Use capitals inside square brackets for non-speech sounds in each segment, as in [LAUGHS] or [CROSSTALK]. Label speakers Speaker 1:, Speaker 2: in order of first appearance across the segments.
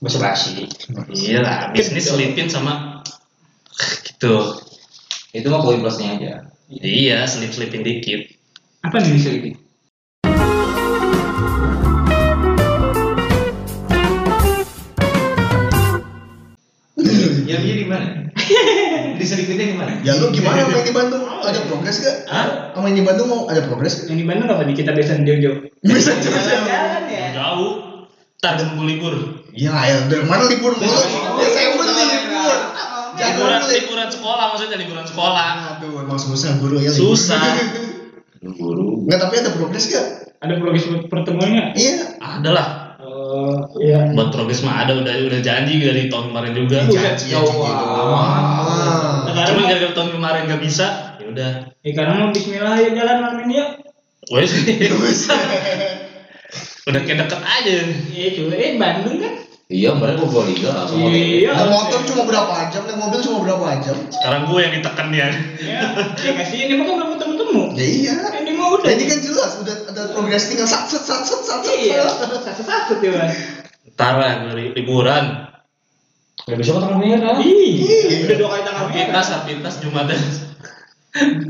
Speaker 1: bahasa basi
Speaker 2: Iya lah, bisnis selipin sama gitu.
Speaker 1: itu mah poin plusnya aja
Speaker 2: Iya, selip-selipin dikit.
Speaker 3: Apa nih bisa ini?
Speaker 1: yang Ya, dia di mana di sedikitnya di mana
Speaker 4: Ya lu gimana main di Bandung? Ada progres gak?
Speaker 2: Hah?
Speaker 4: Main di Bandung mau ada progres gak?
Speaker 3: Yang di Bandung apa nih kita biasa jauh-jauh?
Speaker 4: [LAUGHS] Bisa juga.
Speaker 2: Jauh. Ntar nunggu libur.
Speaker 4: Ya, ya dari mana libur mulu? Ya saya pun nih libur. Jangan
Speaker 2: Liburan,
Speaker 4: beli.
Speaker 2: liburan sekolah maksudnya liburan sekolah.
Speaker 4: Aduh, emang susah guru ya. libur.
Speaker 2: Susah.
Speaker 1: guru
Speaker 4: [LAUGHS] Nggak, tapi ada progres gak?
Speaker 3: Ada progres buat pertemuannya?
Speaker 4: Iya.
Speaker 2: Adalah.
Speaker 3: Eh, iya.
Speaker 2: Buat progres mah ada udah udah janji dari tahun kemarin juga.
Speaker 3: Buset,
Speaker 4: janji,
Speaker 3: ya
Speaker 4: janji
Speaker 3: Allah.
Speaker 4: doang.
Speaker 3: Sekarang
Speaker 2: Cuman
Speaker 3: mah-
Speaker 2: gara-gara tahun kemarin gak bisa, ya udah.
Speaker 3: ya sekarang mah Bismillah ya jalan malam ini ya.
Speaker 2: Wes. udah kayak deket aja.
Speaker 3: Iya cuy, eh Bandung kan?
Speaker 1: iya kemarin gua gua liga sama
Speaker 3: Iya.
Speaker 4: Naik motor cuma berapa jam, naik mobil cuma berapa jam?
Speaker 2: Sekarang gue yang ditekan ya.
Speaker 3: Ya, ya kasih ini mah kan belum ketemu-temu.
Speaker 4: Ya iya.
Speaker 3: Ini mah udah.
Speaker 4: Jadi kan jelas udah ada progres tinggal sat sat sat sat sat. sat.
Speaker 3: Iya, satu-satu tuh Bang.
Speaker 2: Ntar lah dari liburan.
Speaker 1: nggak bisa kan? potong merah
Speaker 3: Iya, udah dua kali tangan merah.
Speaker 2: Pintas, pintas Jumatan.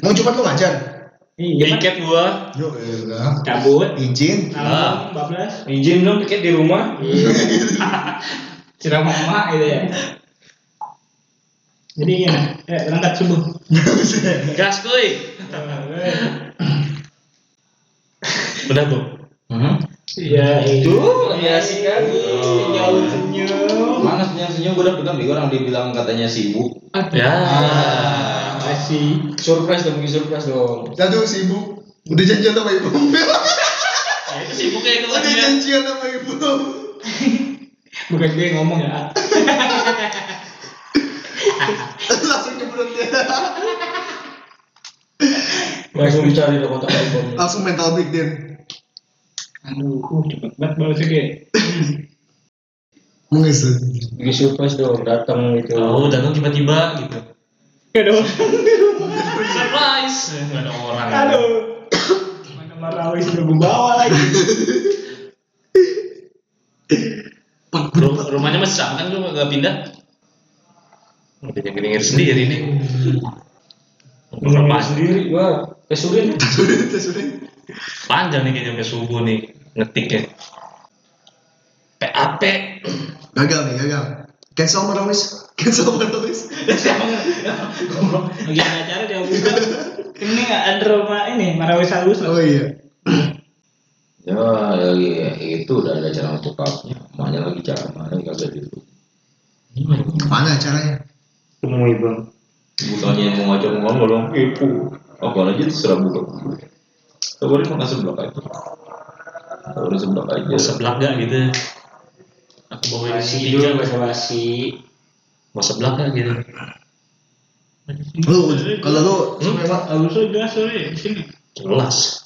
Speaker 4: Mau Jumat lu ngajar?
Speaker 3: Iya,
Speaker 2: Tiket gua.
Speaker 4: Yo, iya.
Speaker 3: cabut.
Speaker 4: Izin.
Speaker 2: Ah.
Speaker 3: Nah, bablas.
Speaker 1: izin dong tiket di rumah
Speaker 3: Iya. ceramah emak gitu ya jadi gini ya, berangkat subuh
Speaker 2: Gas kuy.
Speaker 3: Iya.
Speaker 2: Udah, Bu.
Speaker 1: Mm-hmm.
Speaker 3: ya itu
Speaker 1: ya sih kan.
Speaker 3: iya. jauh senyum
Speaker 1: mana senyum senyum gua udah pegang di orang dibilang katanya sibuk
Speaker 2: Ya.
Speaker 3: Ah, masih
Speaker 1: surprise dong bikin surprise dong
Speaker 4: Aduh sibuk. Udah janjian sama ibu. [LAUGHS]
Speaker 2: Ya, itu sibuknya itu
Speaker 4: Udah
Speaker 2: lagi ya.
Speaker 4: janjian sama ibu.
Speaker 3: bukan gue yang ngomong ya
Speaker 4: Langsung jebret dia.
Speaker 1: langsung dicari lo kontak handphone
Speaker 4: Langsung mental breakdown.
Speaker 3: aduh uh, cepet banget balas gue
Speaker 4: Mengesu.
Speaker 1: bikin surprise dong datang gitu
Speaker 2: Oh, datang tiba-tiba gitu.
Speaker 3: gak ada orang
Speaker 2: Surprise. Enggak ada orang.
Speaker 3: aduh mana marawis udah gue bawa lagi
Speaker 2: Ru- rumahnya masih sama kan lu gak pindah? Udah yang gini sendiri nih. Rumah sendiri.
Speaker 1: gua kesulitan
Speaker 2: Panjang nih kayaknya sampai subuh nih ya. ngetiknya. PAP.
Speaker 4: Gagal nih, gagal. Cancel Marawis. Cancel Marawis.
Speaker 3: lagi ada acara dia buka ini nggak ada rumah ini marawis halus
Speaker 4: Oh
Speaker 3: loh
Speaker 4: iya.
Speaker 1: ya ya, itu udah ada cara untuk kapnya makanya lagi cara mana nggak ada itu
Speaker 4: Mana caranya?
Speaker 3: ketemu ibu
Speaker 1: bukannya mau ngajak ngomong dong ibu apa aja terserah buka kabarin makan seblak aja kabarin seblak aja
Speaker 2: Ya seblak gak gitu. Aku bawa di sini tiga.
Speaker 3: bahasa basi
Speaker 2: Mau seblak gak gitu.
Speaker 4: Lu kalau lu memang
Speaker 3: halus udah sore ya, sini
Speaker 2: Jelas.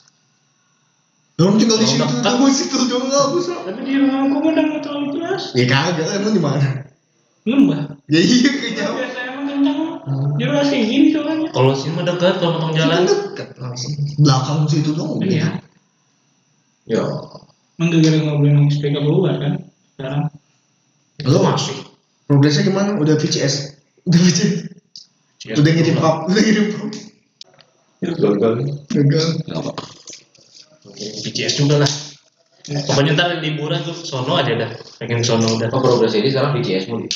Speaker 4: lu tinggal di situ
Speaker 2: Kalau
Speaker 4: tuh di situ dong nggak bisa.
Speaker 3: tapi di rumah kamu udah nggak terlalu keras
Speaker 4: Ya kagak emang di mana?
Speaker 3: lembah
Speaker 4: Ya iya kayaknya.
Speaker 3: biasa emang kencang dia udah segini soalnya
Speaker 2: Kalau sini mah dekat kalau potong jalan.
Speaker 4: Itu deket langsung. Belakang situ dong.
Speaker 3: Iya.
Speaker 1: ya
Speaker 3: emang gara-gara nggak boleh ngomong sepeda keluar kan sekarang
Speaker 4: Lu
Speaker 2: masih.
Speaker 4: Progresnya gimana? Udah VCS. Udah VCS.
Speaker 2: Iya.
Speaker 4: Udah ngirim pap, [LAUGHS] udah ngirim pap.
Speaker 1: itu gagal
Speaker 4: Gagal.
Speaker 1: kenapa
Speaker 2: PCS juga lah. Pokoknya ntar liburan tuh sono aja dah. Pengen sono udah.
Speaker 1: apa Oh, progres ini sekarang BCS mulu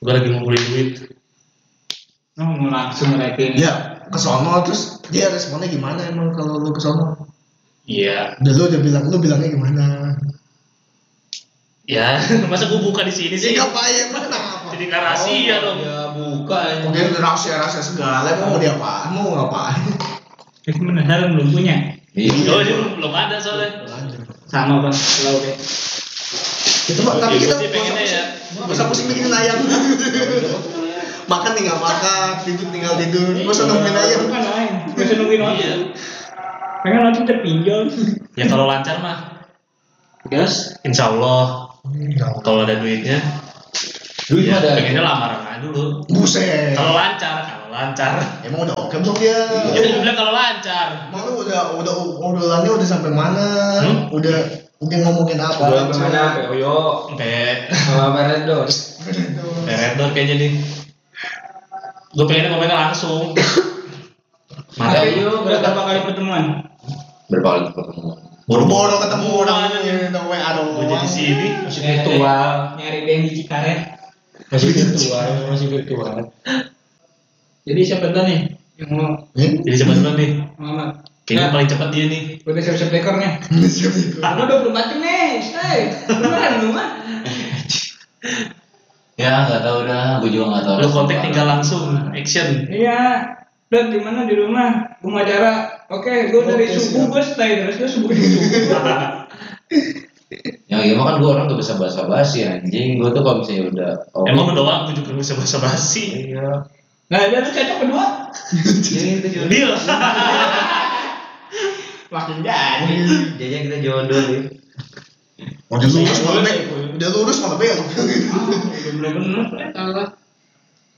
Speaker 2: Gue lagi ngumpulin duit.
Speaker 3: oh, mau langsung ngeliatin
Speaker 4: Ya, ke sono terus dia responnya gimana emang kalau lu ke sono?
Speaker 2: Iya.
Speaker 4: Udah lu udah bilang, lu bilangnya gimana?
Speaker 2: Ya, [LAUGHS] masa gue buka di sini sih?
Speaker 4: Sih ngapain mana apa?
Speaker 2: Jadi nggak rahasia dong. Iya,
Speaker 1: ya buka
Speaker 4: Mungkin rahasia rahasia segala emang mau dia apa? Mau ngapain?
Speaker 3: tapi penasaran belum punya
Speaker 1: iya
Speaker 2: Oh, dia belum, belum ada soalnya.
Speaker 3: sama bang kalau deh
Speaker 4: Itu mah tapi
Speaker 2: Ya,
Speaker 4: kita
Speaker 2: gua sih pengennya ya. Iya.
Speaker 4: Gak usah pusing mikirin ayam. [LAUGHS] makan tinggal makan, tidur tinggal tidur. Gak usah nungguin ayam.
Speaker 3: kan lain gak usah nungguin
Speaker 2: Iya.
Speaker 3: orang pengen langsung terpinjol
Speaker 2: Ya kalau lancar mah,
Speaker 1: gas
Speaker 2: insya Allah kalau ada duitnya,
Speaker 1: duit
Speaker 2: ya,
Speaker 1: ada
Speaker 2: Iya. pengennya lamaran aja dulu.
Speaker 4: Buset.
Speaker 2: Kalau Iya. lancar, kalau lancar.
Speaker 4: Emang udah oke belum dia?
Speaker 2: Jadi gue bilang kalau lancar.
Speaker 4: Emang lu udah udah obrolannya udah sampai mana?
Speaker 2: Hmm?
Speaker 4: Udah udah ngomongin apa?
Speaker 5: Udah kemana Peoyo
Speaker 2: Sampai
Speaker 5: sama Meredor
Speaker 2: sampai red door kayaknya nih. Gue pengennya ngomongnya langsung. Mata
Speaker 3: Tapi yuk berapa kali pertemuan?
Speaker 1: berapa kali pertemuan
Speaker 4: Boro-boro ketemu orang
Speaker 2: Mana
Speaker 4: yang
Speaker 2: nih?
Speaker 4: WA doang.
Speaker 2: gue jadi sini.
Speaker 5: masih virtual
Speaker 3: Nyari dia yang di Cikaret
Speaker 5: masih virtual masih virtual jadi siapa dulu nih
Speaker 3: yang mau
Speaker 4: Hmm?
Speaker 2: Jadi cepat dulu nih.
Speaker 3: Muhammad.
Speaker 2: Kayaknya
Speaker 5: Nah.
Speaker 2: paling cepat dia nih.
Speaker 5: udah siap-siap dekor nih
Speaker 4: [LAUGHS] Siapa itu?
Speaker 3: Aku 24 jam nih, stay. Beneran lu mah.
Speaker 6: Ya nggak tahu dah, gue juga nggak tahu.
Speaker 2: Lu kontak tinggal langsung action.
Speaker 3: Iya. Dan di mana di rumah? Rumah acara. Oke, gue dari
Speaker 4: Oke,
Speaker 3: subuh
Speaker 4: siap.
Speaker 3: gue stay terus gue subuh [LAUGHS] subuh.
Speaker 6: Yang gimana kan gue orang gak bisa bahasa basi anjing. Gue tuh kalau misalnya udah oh,
Speaker 2: Emang lu doang gue juga bisa bahasa basi.
Speaker 6: Iya.
Speaker 3: Nah, dia tuh cocok kedua.
Speaker 6: Jadi kita jodoh.
Speaker 2: Deal.
Speaker 3: Makin jadi.
Speaker 6: Jadi kita jodoh deh.
Speaker 4: Udah lurus malah Be. Udah lurus malah Be.
Speaker 3: Bener-bener. Salah.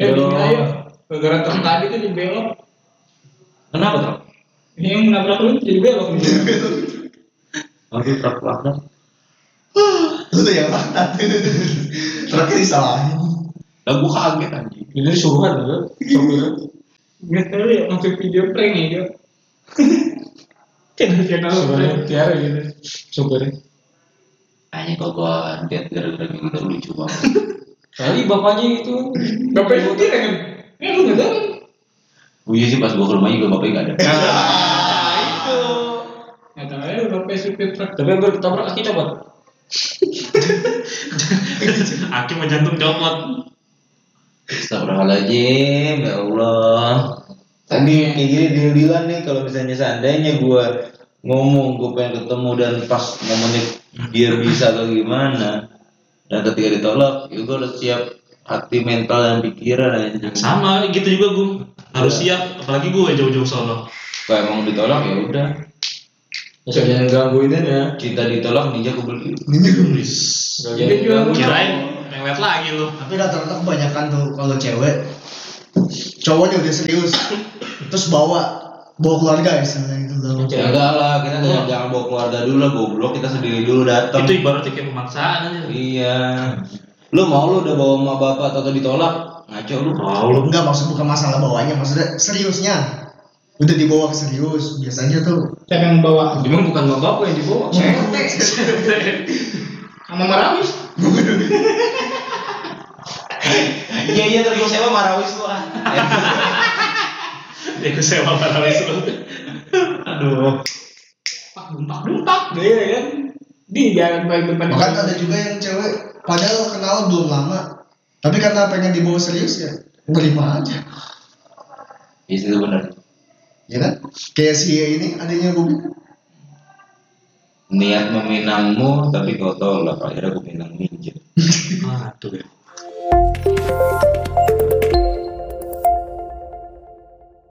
Speaker 3: Ya, bingung ayo. Gara-gara truk tadi tuh dibelok.
Speaker 1: kenapa tuh
Speaker 3: Ini yang menabrak lu jadi belok.
Speaker 1: Aduh, truk banget.
Speaker 4: Lu yang laknat. Terakhir disalahin.
Speaker 1: Lah gua kaget anjing.
Speaker 5: jadi suruhan lu
Speaker 3: Gak tau ya, masuk video prank ya, Jo. [LAUGHS] Channel-channel prank.
Speaker 5: suruhan tiara gitu supir
Speaker 6: Anjing kok gue lihat gara-gara gitu lucu banget.
Speaker 5: tadi bapaknya itu
Speaker 3: Bapaknya sendiri kan? Ya lu nggak tahu kan?
Speaker 6: Oh [LAUGHS] iya sih pas gue ke rumah juga bapaknya nggak ada.
Speaker 3: Nah itu. Nggak tahu ya lu bapaknya supir truk.
Speaker 5: tapi yang berketabrak kaki copot
Speaker 2: [LAUGHS] Aki mau jantung copot.
Speaker 6: Astagfirullahaladzim, ya Allah. Tadi kayak gini deal-dealan nih kalau misalnya seandainya gue ngomong gue pengen ketemu dan pas momennya dia bisa atau gimana dan ketika ditolak ya gue harus siap hati mental dan pikiran anjing
Speaker 2: Sama gitu juga gue. Harus siap, apalagi gue jauh-jauh sono.
Speaker 6: kalau emang ditolak ya udah
Speaker 5: jangan gangguin aja
Speaker 6: cinta ditolak ninja kebeli
Speaker 3: Dia
Speaker 5: Gangguin.
Speaker 3: jual gua.
Speaker 2: Kirain ngeliat lagi lu.
Speaker 4: Tapi rata-rata kebanyakan tuh kalau cewek cowoknya udah serius terus bawa bawa keluarga ya istilahnya gitu loh.
Speaker 6: ya enggak lah kita jangan, jangan bawa keluarga dulu lah goblok kita sendiri dulu datang
Speaker 2: Itu ibaratnya kayak pemaksaan aja.
Speaker 6: iya lu mau lu udah bawa sama bapak atau ditolak ngaco lu
Speaker 2: Mau lu.
Speaker 4: Enggak maksud bukan masalah bawanya, maksudnya seriusnya. Udah dibawa ke serius, biasanya tuh.
Speaker 3: Siapa yang bawa?
Speaker 5: Emang bukan bapak yang dibawa.
Speaker 3: Sama Marawis.
Speaker 6: iya iya terus sewa marawis lu ah
Speaker 2: Ya gue sewa para wes lu. Aduh.
Speaker 3: Pak dumpak dumpak. Iya kan? Di jalan paling depan.
Speaker 4: Bahkan ada juga yang cewek padahal kenal belum lama, tapi karena pengen dibawa serius ya terima aja.
Speaker 6: iya sih itu benar
Speaker 4: Ya kan? Kayak si ini adanya Bobi.
Speaker 6: niat meminangmu tapi kau tolak akhirnya aku pinang ninja
Speaker 2: Aduh.